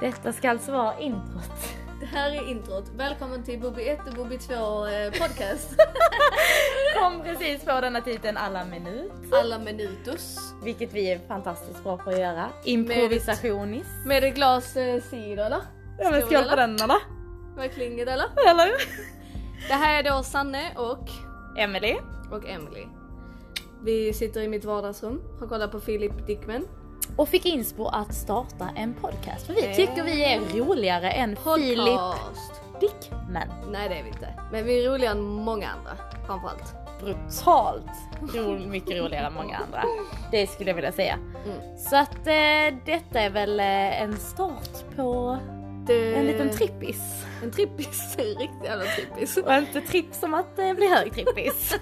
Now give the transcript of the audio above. Detta ska alltså vara introt. Det här är introt. Välkommen till Bobby 1 och Bobby 2 eh, podcast. Kom precis på denna titeln alla minut. Alla minutus. Vilket vi är fantastiskt bra på att göra. Improvisationiskt. Med ett glas eh, cider eller? Ja men Skål, skål eller? på den eller? Med klinget eller? Eller? Det här är då Sanne och, Emily. och Emily. Vi sitter i mitt vardagsrum, har kollat på Philip Dickman. Och fick inspo att starta en podcast. För vi Eh. tycker vi är roligare än Filip Podcast. Dickman. Nej det är vi inte. Men vi är roligare än många andra. Framförallt. Brutalt ro- mycket roligare än många andra. Det skulle jag vilja säga. Mm. Så att eh, detta är väl eh, en start på Det- en liten trippis. En trippis. En riktig jävla trippis. Och inte tripp som att eh, bli högtrippis.